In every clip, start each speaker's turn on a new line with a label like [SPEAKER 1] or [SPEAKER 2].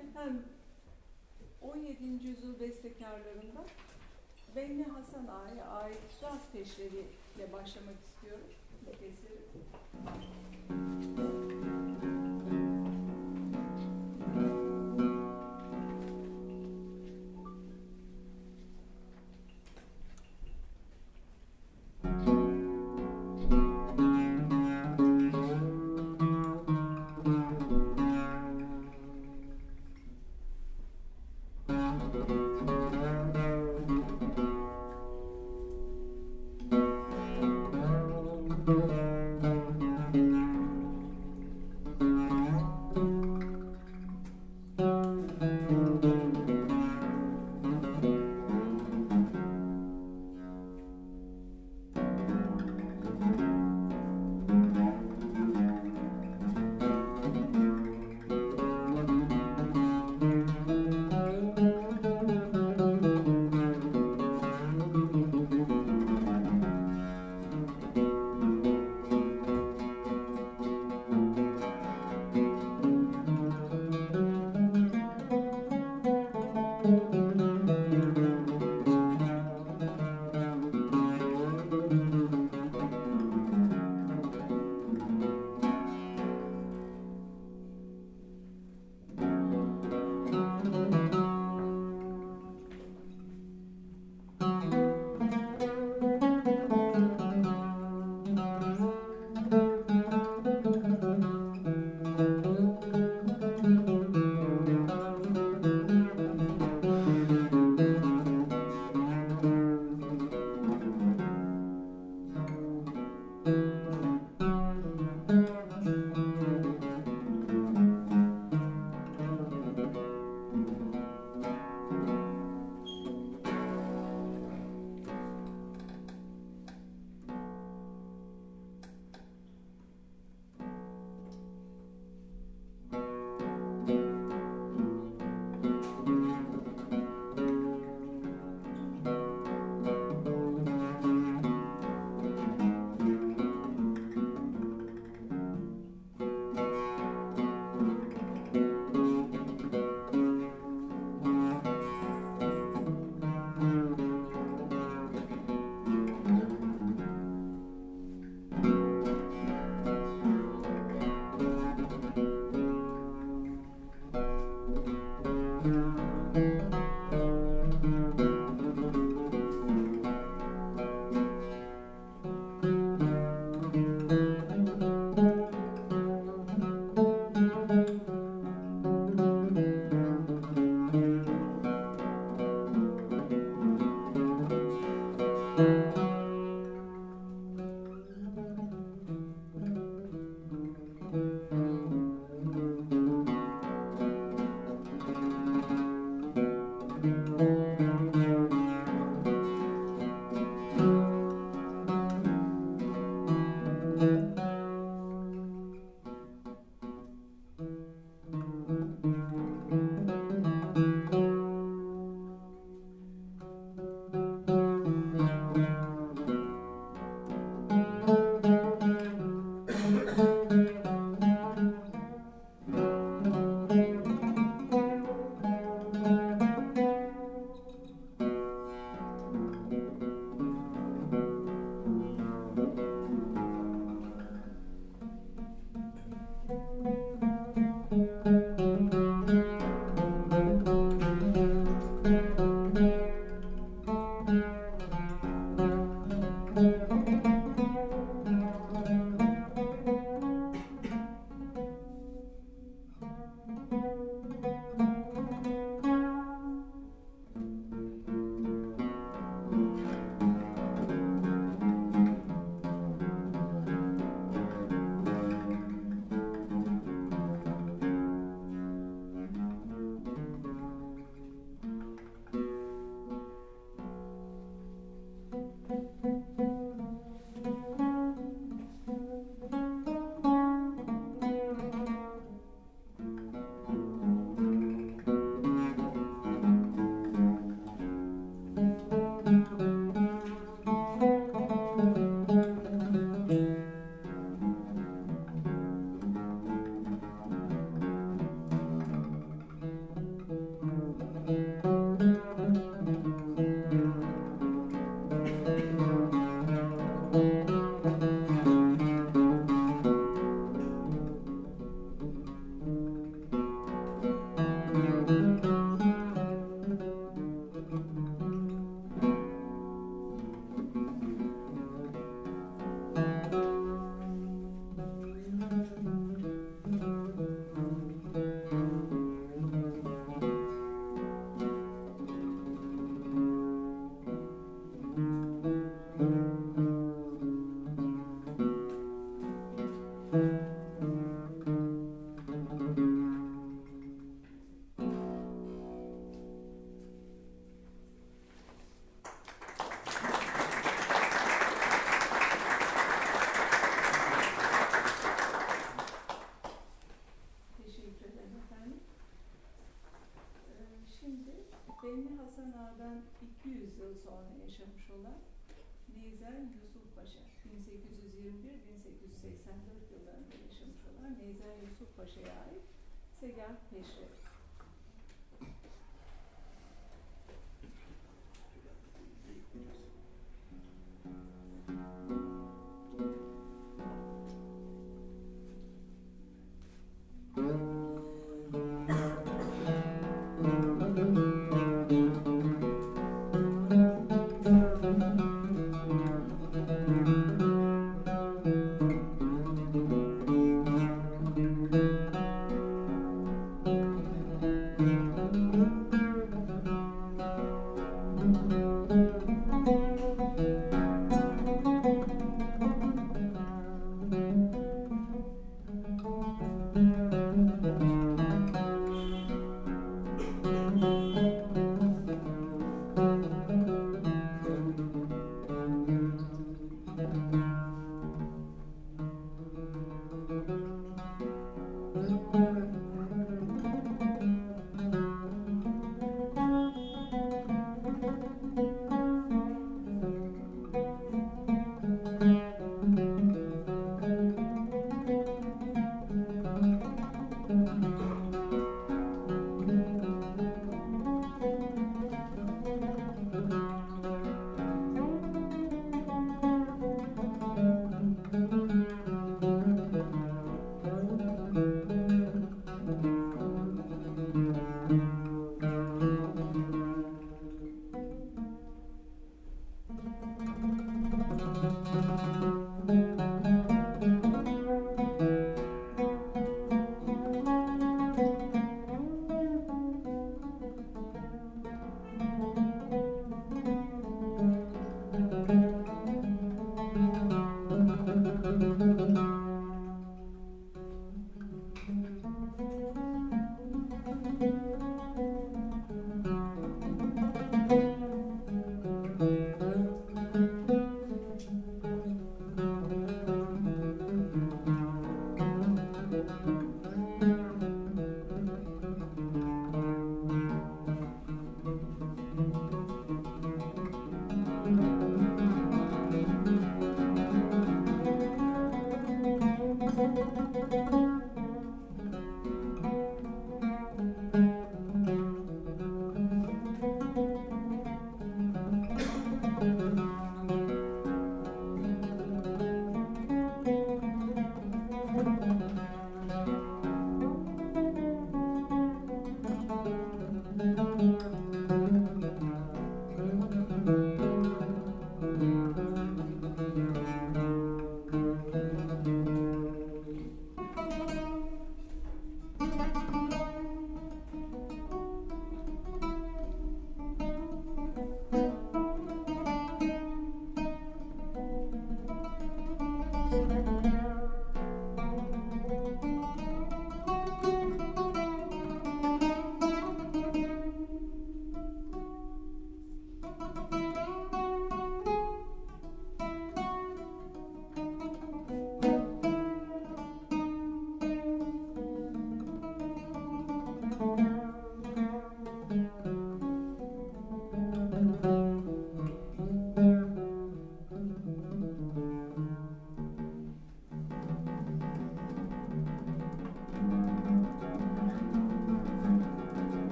[SPEAKER 1] Efendim 17. yüzyıl bestekarlarında Benni Hasan Ağa'ya ait caz peşleriyle başlamak istiyorum bu eseri. Teşekkür ederim efendim. Ee, Şimdi Beyni Hasan Ağa'dan 200 yıl sonra yaşamış olan Neyzen Yusuf Paşa, 1821-1884 yıllarında yaşamış olan Neyzen Yusuf Paşa'ya ait Segah Peşrev.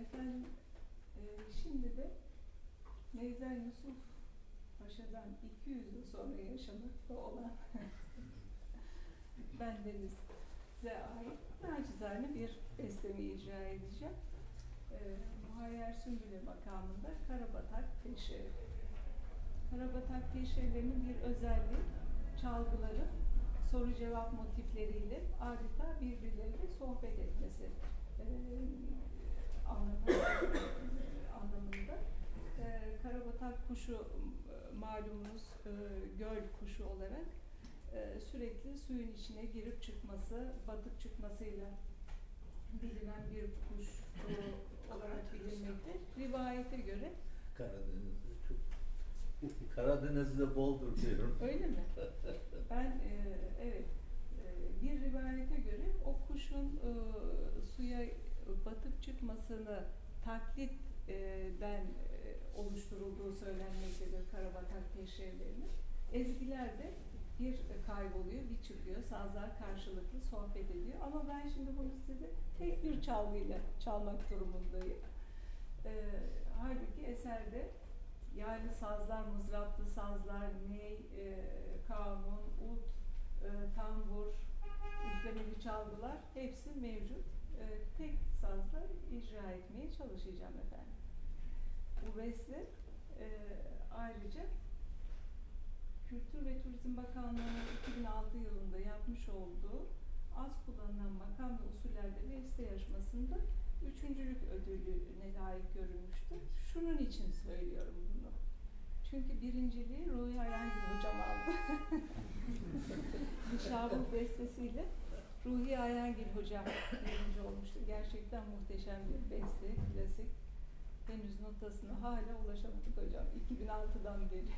[SPEAKER 1] Efendim, e, şimdi de Neyzel Yusuf Paşa'dan 200 yıl sonra yaşamakta olan bendenize ait nacizane bir bestemi icra edeceğim. E, Muhayyer Sümbüle makamında Karabatak Teşeri. Karabatak Teşeri'nin bir özelliği çalgıları soru cevap motifleriyle adeta birbirleriyle sohbet etmesi e, anlamında. anlamında. E, karabatak kuşu e, malumunuz e, göl kuşu olarak e, sürekli suyun içine girip çıkması, batıp çıkmasıyla bilinen bir kuş e, olarak bilinmekte. Rivayete göre
[SPEAKER 2] Karadeniz'de çok Karadeniz'de boldur diyorum.
[SPEAKER 1] Öyle mi? Ben e, evet e, bir rivayete göre o kuşun e, suya batıp çıkmasını taklitten e, oluşturulduğu söylenmektedir Karabatak teşhirlerinin. Ezgiler de bir kayboluyor, bir çıkıyor. Sazlar karşılıklı sohbet ediyor. Ama ben şimdi bunu size tek bir çalgıyla çalmak durumundayım. E, halbuki eserde yani sazlar, mızraplı sazlar, ney, e, kanun, ud, e, tambur, üflemeli çalgılar hepsi mevcut. E, tek sazla icra etmeye çalışacağım efendim. Bu beste e, ayrıca Kültür ve Turizm Bakanlığı'nın 2006 yılında yapmış olduğu az kullanılan makam ve usullerde beste yarışmasında üçüncülük ödülüne layık görülmüştü. Şunun için söylüyorum bunu. Çünkü birinciliği Ruhi Ayangil hocam aldı. Nişabur bestesiyle Ruhi Ayangil hocam birinci olmuştu. Gerçekten muhteşem bir beste, klasik. Henüz notasına hala ulaşamadık hocam. 2006'dan beri.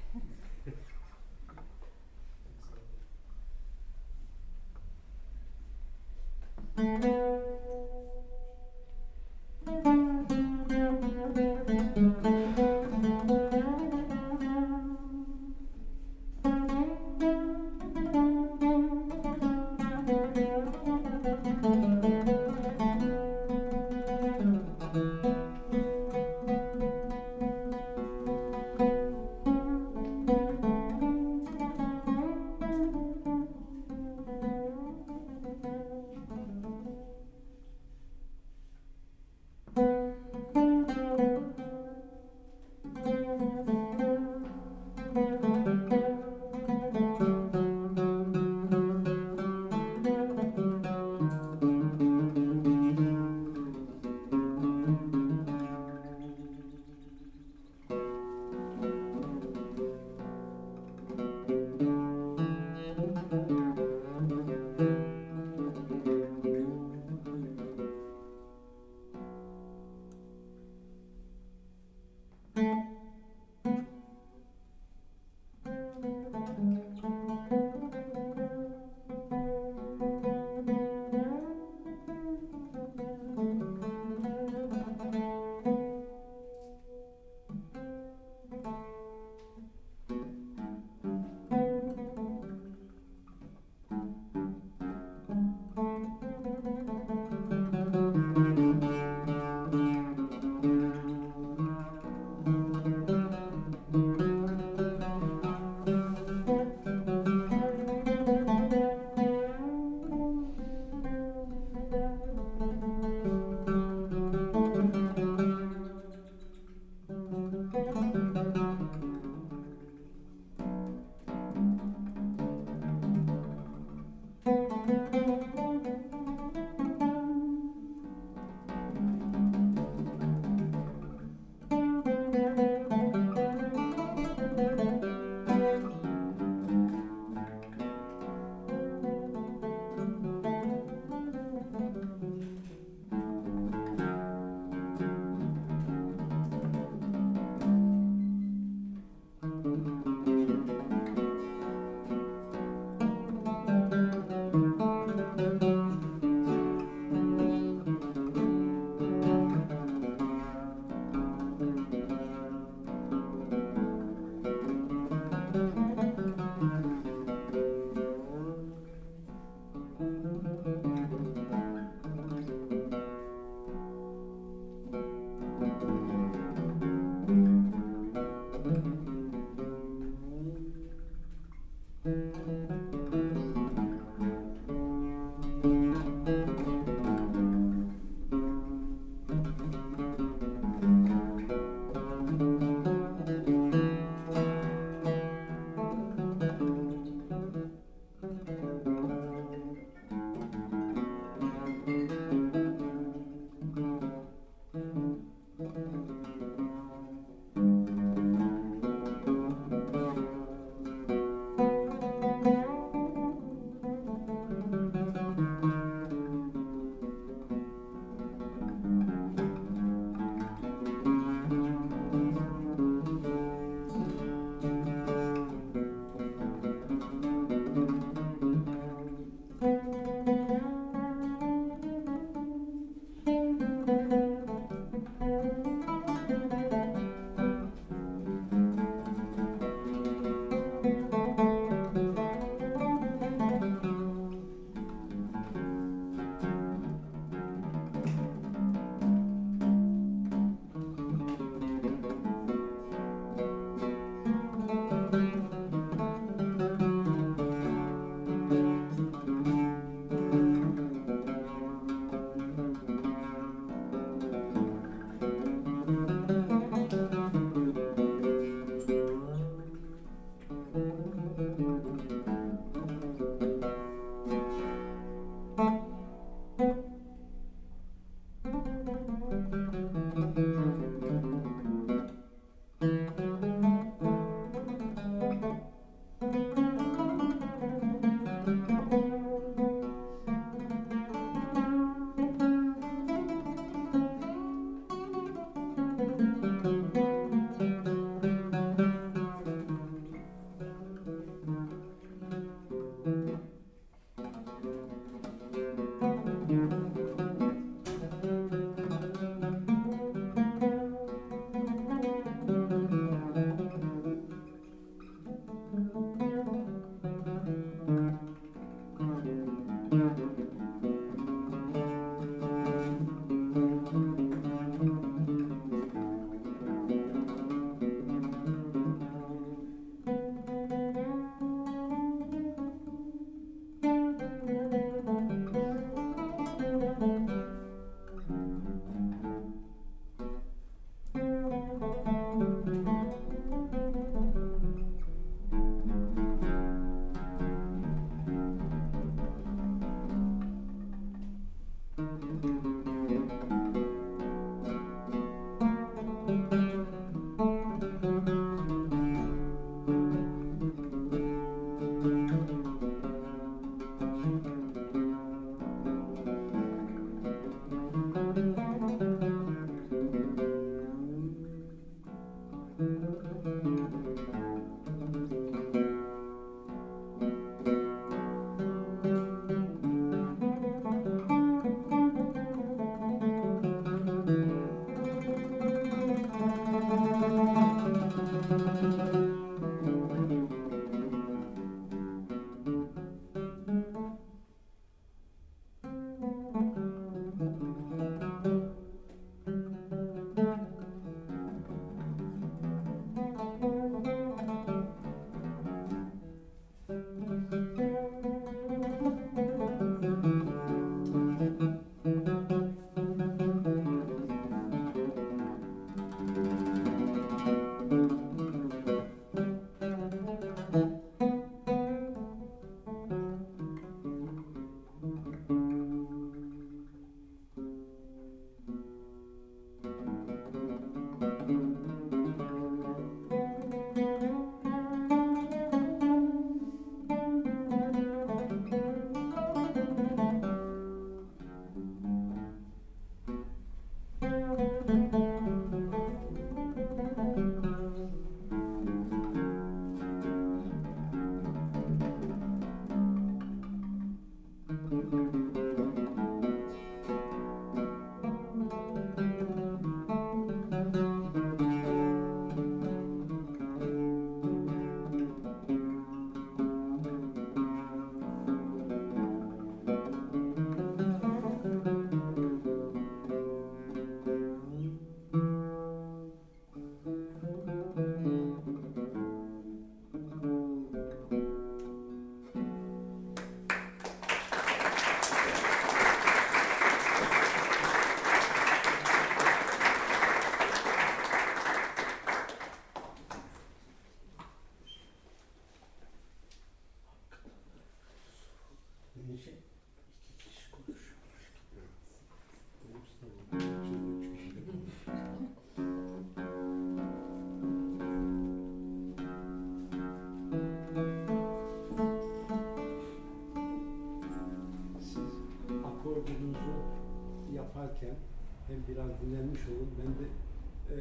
[SPEAKER 3] biraz dinlenmiş olun. Ben de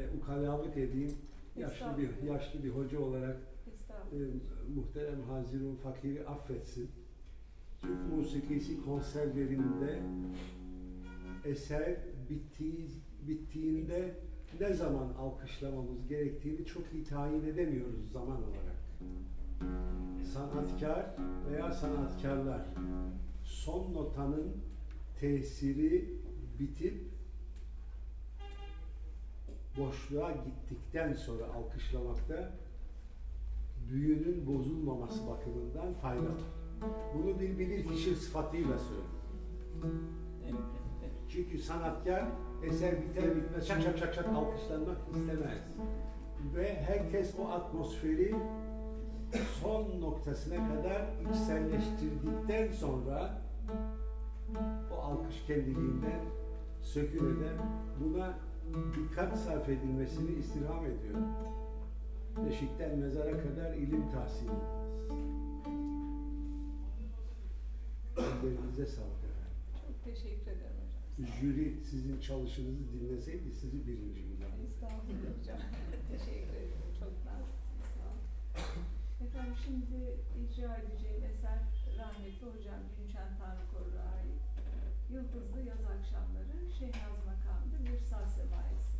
[SPEAKER 3] e, ukalalık edeyim. Yaşlı bir
[SPEAKER 1] Estağfurullah.
[SPEAKER 3] yaşlı bir hoca olarak e,
[SPEAKER 1] Estağfurullah.
[SPEAKER 3] muhterem Hazirun Fakiri affetsin. Türk musikisi konserlerinde eser bittiği, bittiğinde ne zaman alkışlamamız gerektiğini çok iyi tayin edemiyoruz zaman olarak. Sanatkar veya sanatkarlar son notanın tesiri bitip boşluğa gittikten sonra alkışlamakta büyünün bozulmaması bakımından fayda var. Bunu bir bilirkişi sıfatıyla söylüyor. Çünkü sanatkar eser biter bitmez şak şak şak şak alkışlanmak istemez. Ve herkes o atmosferi son noktasına kadar içselleştirdikten sonra o alkış kendiliğinden söküleden buna dikkat sarf edilmesini istirham ediyor. Beşikten mezara kadar ilim tahsili. Ellerinize sağlık efendim
[SPEAKER 1] Çok teşekkür ederim hocam.
[SPEAKER 3] jüri sizin çalışınızı dinleseydi sizi birinci
[SPEAKER 1] Sağ olun.
[SPEAKER 3] ilan.
[SPEAKER 1] Estağfurullah hocam. teşekkür ederim. Çok naziksiniz. Sağ olun. Efendim şimdi icra edeceğim eser rahmetli hocam Günçen Tanrıkorlu'ya ait. Yıldızlı Yaz Akşamları Şehnaz Makamı'nda bir saz sebayesi.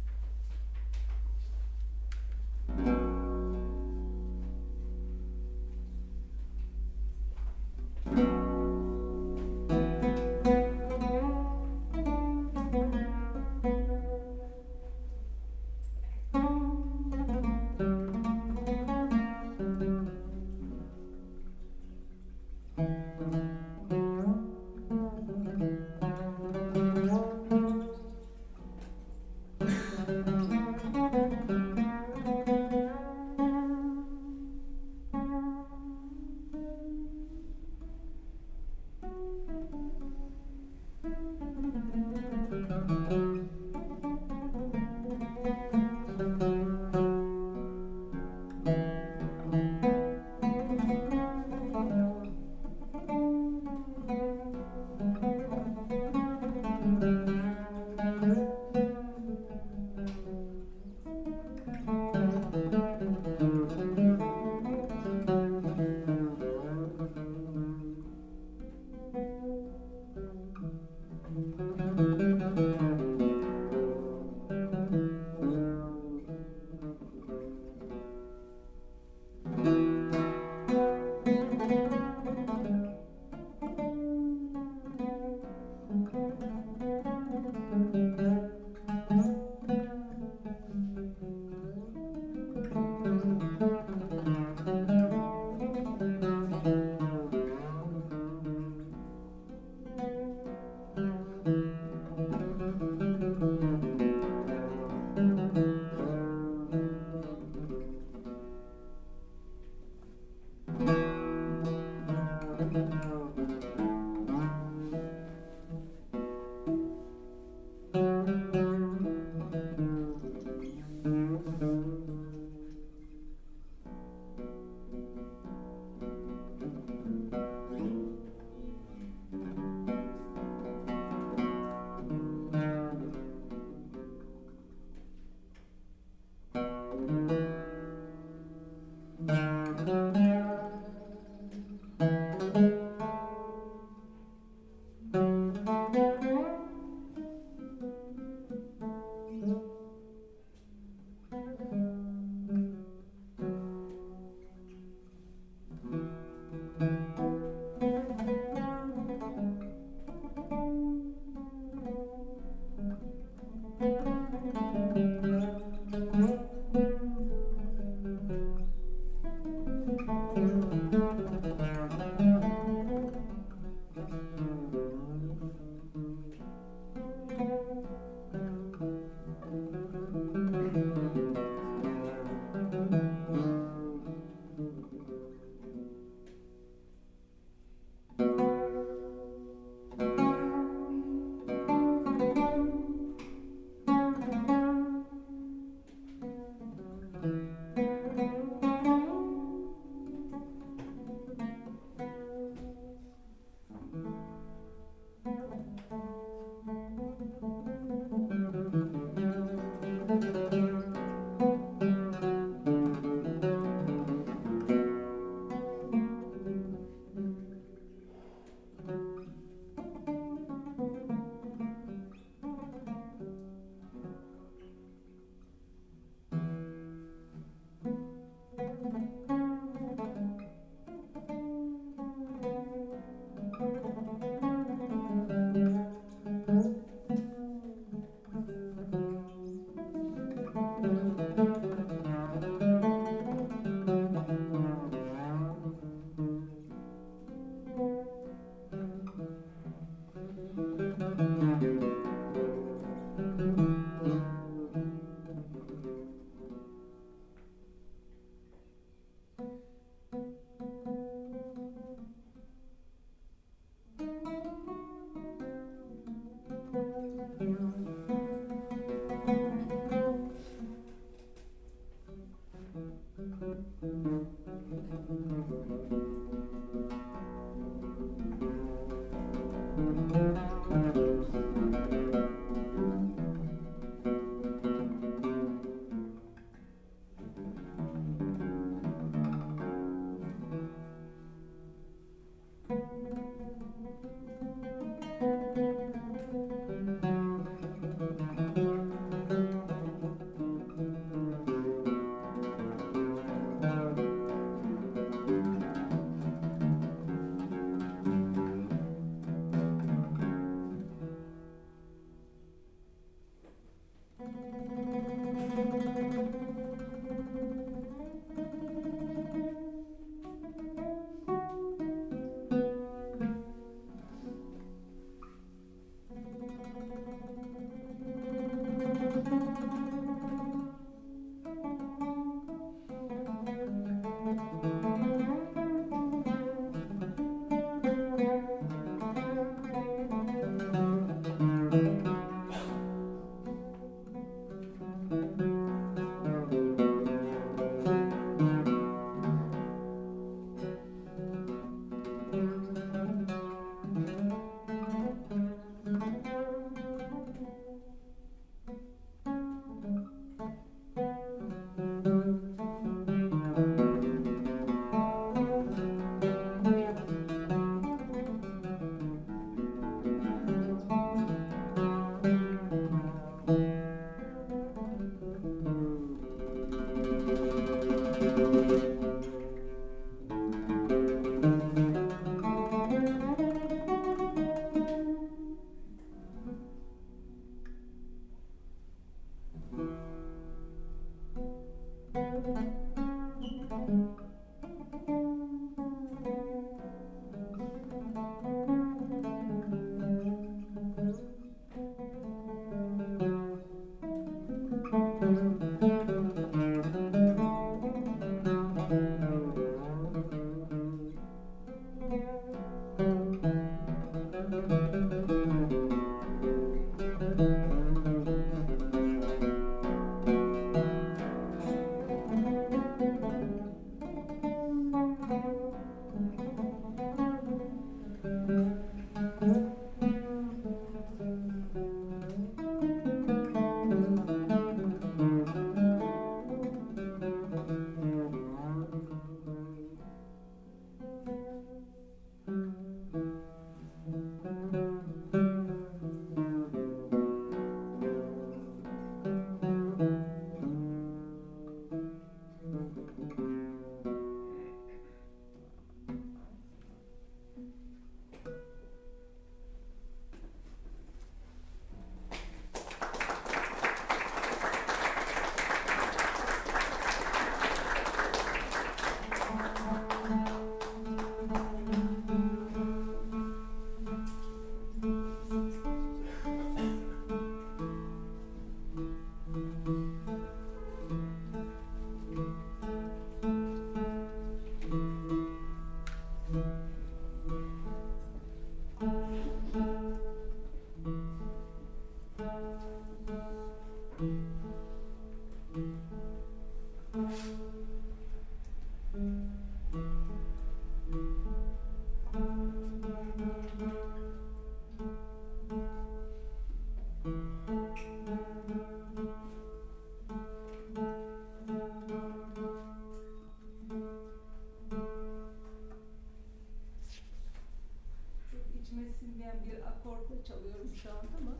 [SPEAKER 1] Çok içime sinmeyen bir akortla çalıyorum şu anda ama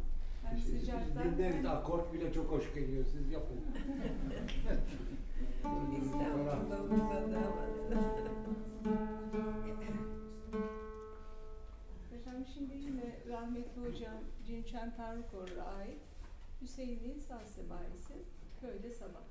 [SPEAKER 1] hem
[SPEAKER 3] Siz- siz
[SPEAKER 1] sıcaktan
[SPEAKER 3] Dinleriz
[SPEAKER 1] hem
[SPEAKER 3] akort bile çok hoş geliyor. Siz yapın.
[SPEAKER 4] İstanbul'da uzadı ama.
[SPEAKER 1] Efendim şimdi yine rahmetli hocam Cinçen Tanrıkor'a ait Hüseyin'in Saz Sebaisi Köyde Sabah.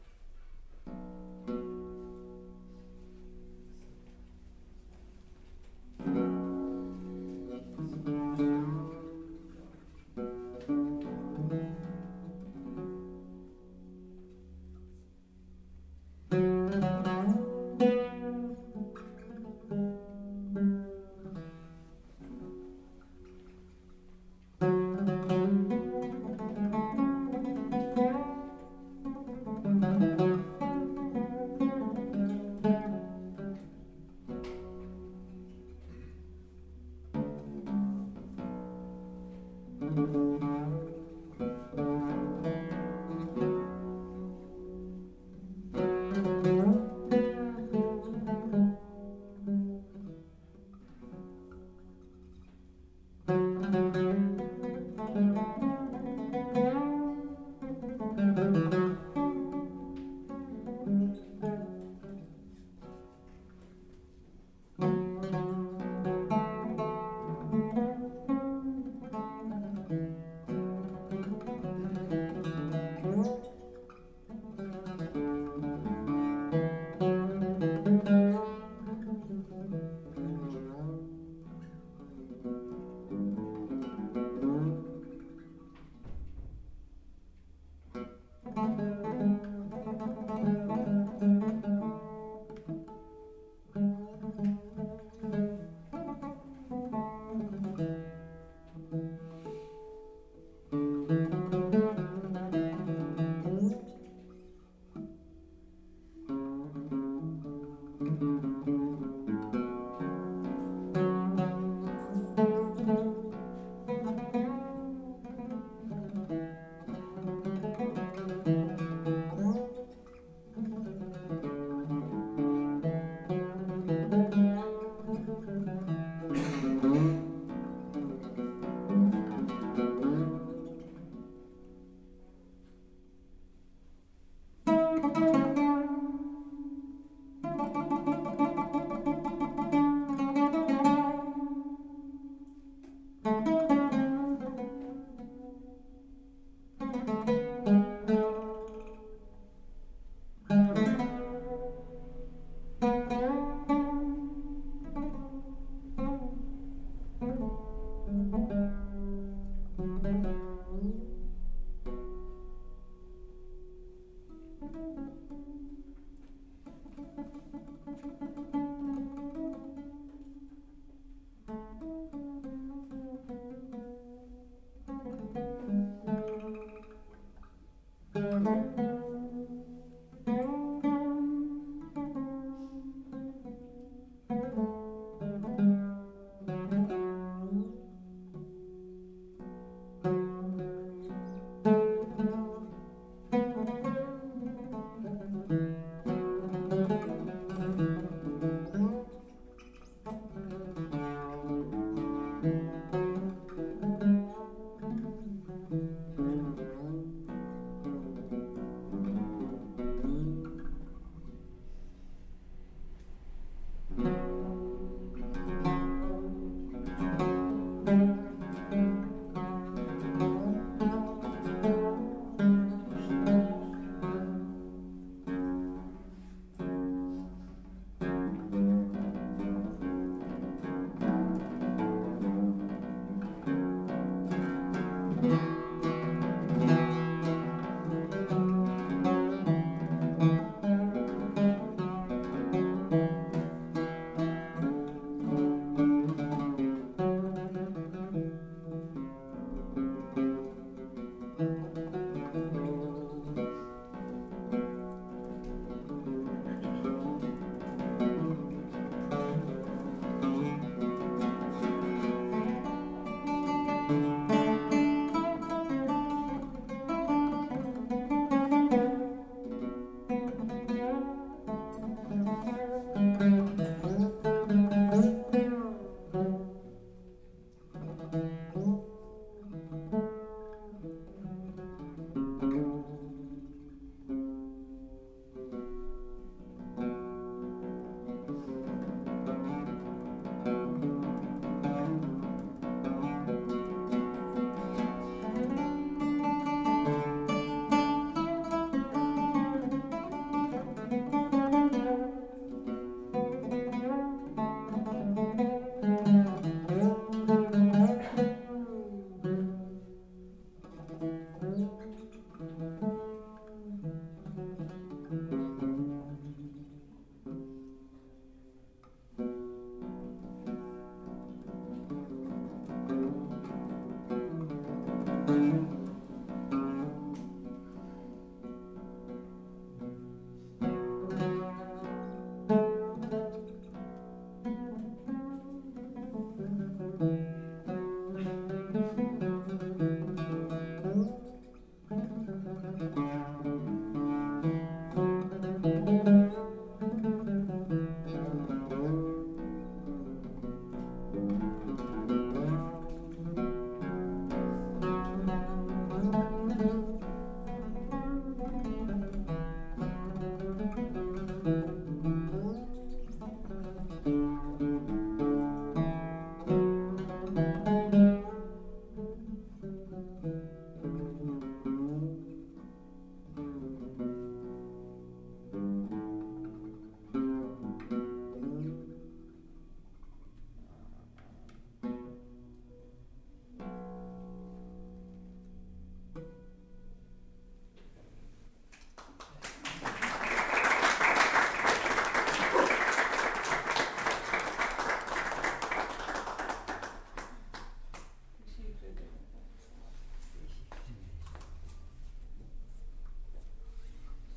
[SPEAKER 2] Thank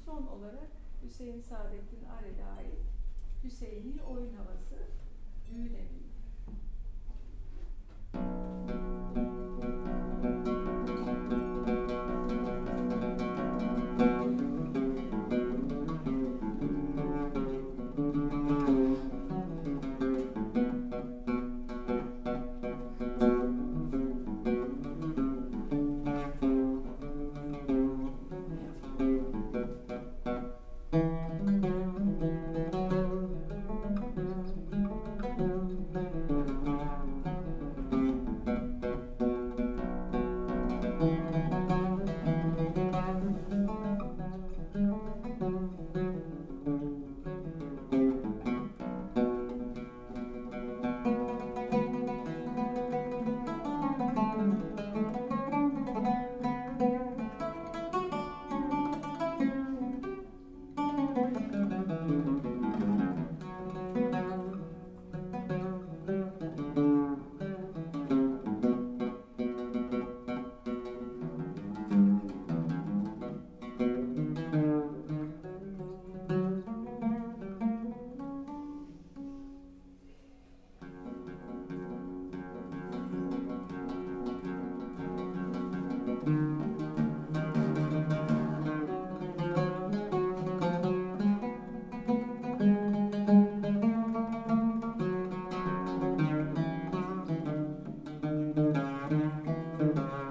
[SPEAKER 1] son olarak Hüseyin Saadettin Arel'e ait Hüseyin'i oyun havası düğün evi.
[SPEAKER 5] Çok teşekkür ederim. Tebrik ediyorum.
[SPEAKER 1] Ben
[SPEAKER 5] Fevkalade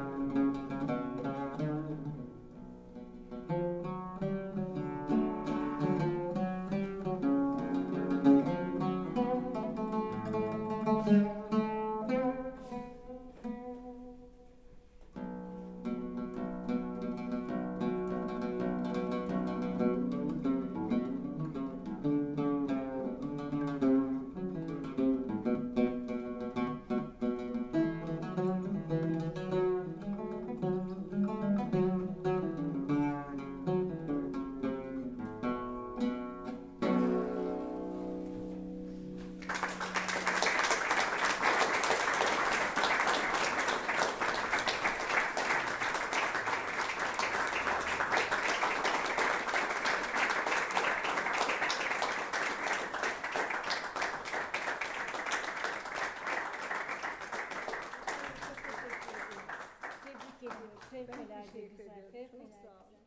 [SPEAKER 1] teşekkür
[SPEAKER 5] güzel.
[SPEAKER 1] ediyorum. Çok
[SPEAKER 5] Fevkalade
[SPEAKER 1] sağ olun.